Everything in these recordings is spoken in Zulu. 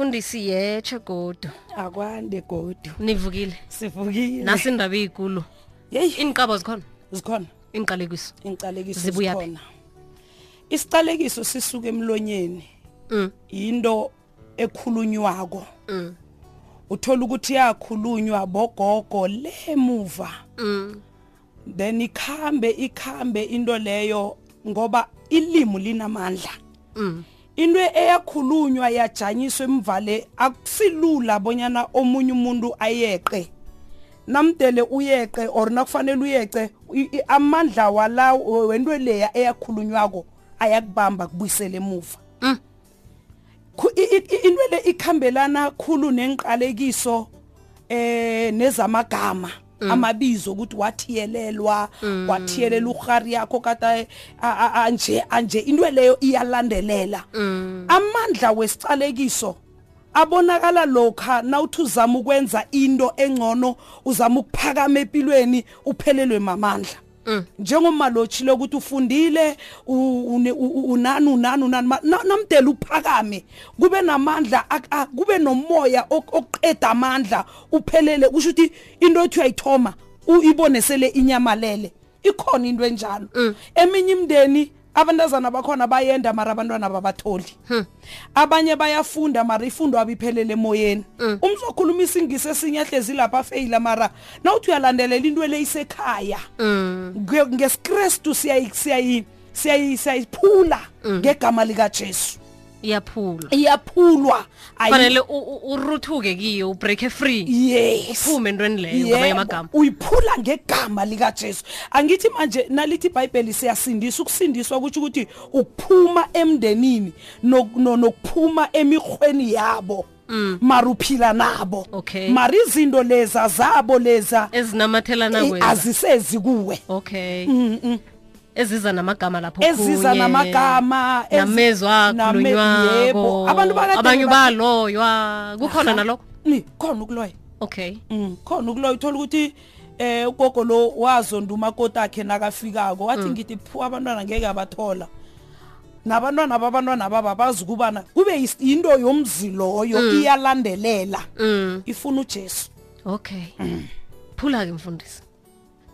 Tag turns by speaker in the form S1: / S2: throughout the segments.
S1: Mfundisi yetshe godo
S2: akwande godu
S1: nivukile
S2: sivukile
S1: nasi indaba ezinkulu
S2: yeyi
S1: inqabo zikhona
S2: zikhona
S1: inqalekiso
S2: ingicalekiso
S1: Zibuya phi?
S2: zikhona isicalekiso sisuka emlonyeni
S1: mm
S2: into ekhulunywako
S1: mm
S2: uthola ukuthi yakhulunywa bogogo lemuva
S1: mm
S2: then ikhambe ikhambe into leyo ngoba ilimi linamandla
S1: mm
S2: into eyakhulunywa yajanyiswa emvale akusilula bonyana omunye umuntu ayeqe namdele uyeqe or nakufanele uyeqe i- i- amandla wala we- wento leya eyakhulunywako ayakubamba kubuyisele emuva
S1: mm
S2: Khu- i- i- i- into le ikhambelana khulu nenqalekiso eh nezamagama amabizo ukuthi wathiyelelwa wathiyelela ugari yakho kata anje anje into leyo iyalandelela
S1: mm
S2: amandla wesicalekiso abonakala lokha nawuthi uzama ukwenza into engcono uzama ukuphakama empilweni uphelelwe mamandla
S1: Mm.
S2: njengomalochile ukuthi ufundile u- une- u- u- unani unani unani ma- na- namdela uphakame kube namandla ak- a- kube nomoya ok- oqeda amandla uphelele kusho ukuthi into ethi uyayithoma u- ibone sele inyamalele ikhona into enjalo
S1: Mm.
S2: eminye imndeni abantazana bakhona bayenda mara abantwana babatholi
S1: Mm.
S2: abanye bayafunda mara ifundo abo iphelele emoyeni
S1: Mm.
S2: umzokhuluma isingisi esinye ahlezi lapha afeyila mara nawuthi uyalandelela into eleyisekhaya
S1: mm
S2: Nge- ngesikristu siyayi- siyayi- siyayi- siyayiphula
S1: Mm.
S2: ngegama likajesu
S1: iyaphula
S2: iyaphulwa Ayi-
S1: fanele u- u- uruthuke kiyo ubreak free
S2: yes
S1: uphume entweni leyo
S2: Yebo,
S1: ngamanye amagama
S2: uyiphula ngegama likajesu angithi manje nalithi ibhayibheli siyasindisa ukusindiswa kutsho ukuthi ukuphuma emndenini nok- no- nokuphuma emihweni yabo mara uphila nabo
S1: Mm. Okay.
S2: mara izinto leza zabo leza
S1: ezinamathelana
S2: eh,
S1: kweza
S2: azisezi kuwe
S1: okay
S2: Mm, mm.
S1: eziza namagama lapho
S2: eziza
S1: kunye,
S2: namagama ezi-
S1: namezwa
S2: name-
S1: khulunywako
S2: yebo. abantu bakade
S1: abanye
S2: ba-
S1: baloywa kukhona
S2: Aha.
S1: nalokho
S2: Ni, khona ukuloya
S1: okay
S2: Mm, khona ukuloya uthola ukuthi eh ugogo lo wazonda umakoti akhe nakafikako wathi ngithi phu abantwana ngeke abathola nabantwana babantwana baba bazukubana kube yis- yinto yomzi loyo iyalandelela
S1: mm
S2: ifuna ujesu
S1: okay
S2: Mm.
S1: phula ke mfundisi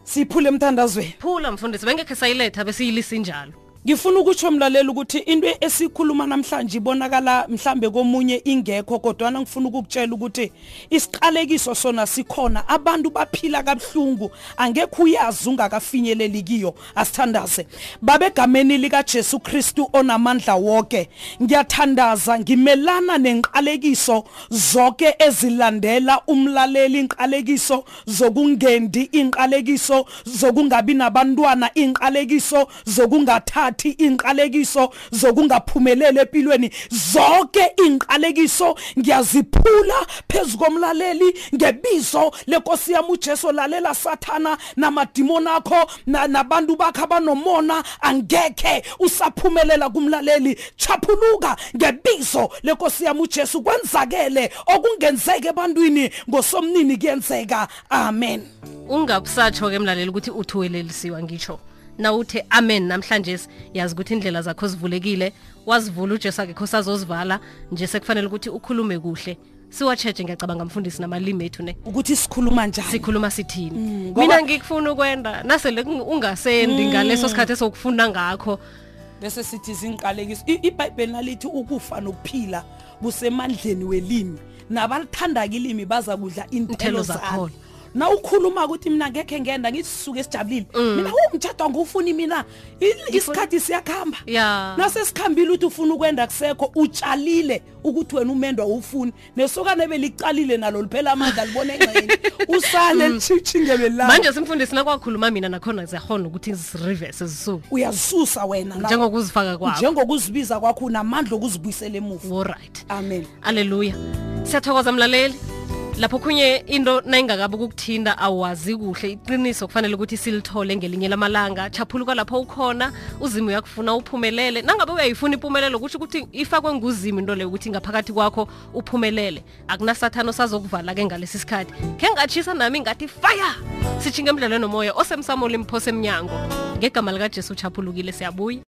S2: siyiphule emthandazweni
S1: phula mfundisi bengekhe sayiletha besiyilisa injalo
S2: ngifuna ukutsho mlaleli ukuthi into esikhuluma namhlanje ibonakala mhlambe komunye ingekho kodwana ngifuna ukukutshela ukuthi isiqalekiso sona sikhona abantu baphila kabuhlungu angekho uyazi ungakafinyeleli kiyo asithandaze babegameni likajesu kristu onamandla woke ngiyathandaza ngimelana nenqalekiso zonke ezilandela umlaleli inqalekiso zokungendi inqalekiso zokungabi nabantwana inqalekiso zokungathathi inqalekiso zokungaphumeleli empilweni zonke inqalekiso ngiyaziphula phezu komlaleli ngebizo lenkosi yami ujesu lalela sathana namadimoni akho na- nabantu bakhe abanomona angekhe usaphumelela kumlaleli chaphuluka ngebizo lenkosi yami ujesu kwenzakele okungenzeki ebantwini ngosomnini kuyenzeka amen
S1: ungabusatsho ke mlaleli ukuthi uthuwelelisiwa ngitsho nawuthe amen namhlanje yazi ukuthi indlela zakho zivulekile wazivula ujesu akekho sazozivala nje sekufanele ukuthi ukhulume kuhle siwa-cheshe ngiyacabanga mfundisi namalimi ethu ne
S2: ukuthi sikhuluma njani
S1: sikhuluma sithini
S2: Mm, ngoba- Mm.
S1: mina ngikufuna ukwenda nasele kung- ungasendi ngaleso sikhathi esokufunda ngakho
S2: bese sithi zinqalekiso ibhayibheli nalithi ukufa nokuphila kusemandleni welimi nabalithandaka ilimi baza kudla
S1: Iinthelo
S2: inthelo
S1: zakhona.
S2: zakho na ukhuluma ukuthi mina ngekhe ngenda ngithi sisuke sijabulile
S1: Mm.
S2: mina umtshado angiwufuni mina I- isikhathi siyakuhamba
S1: ya
S2: nasesikhambile ukuthi ufuna ukwenda kusekho utshalile ukuthi wena umendwa ufuni nesokane belicalile nalo liphela amandla libone engxenye usale litshingebelao
S1: Mm. manje simfundisi nakwakhuluma mina nakhona ziyahona ukuthi zirivese zisuke
S2: uyazisusa wena na-
S1: njengokuzifaka kwabo
S2: njengokuzibiza kwakho unamandla okuzibuyisela emuva
S1: oright
S2: amen
S1: alleluya siyathokoza mlaleli lapho khunye into nayingakabi ukukuthinta awazi kuhle iqiniso kufanele ukuthi silithole ngelinye lamalanga chaphuluka lapho ukhona uzimi uyakufuna uphumelele nangabe uyayifuna impumelelo kusho ukuthi ifakwe nguzimi into leyo ukuthi ngaphakathi kwakho uphumelele akunasathane osazokuvala-ke ngalesi sikhathi khe ngatshisa nami ngathi fire sitshinge emdlalweni nomoya osemsamolimpho semnyango ngegama likajesu uchaphulukile siyabuya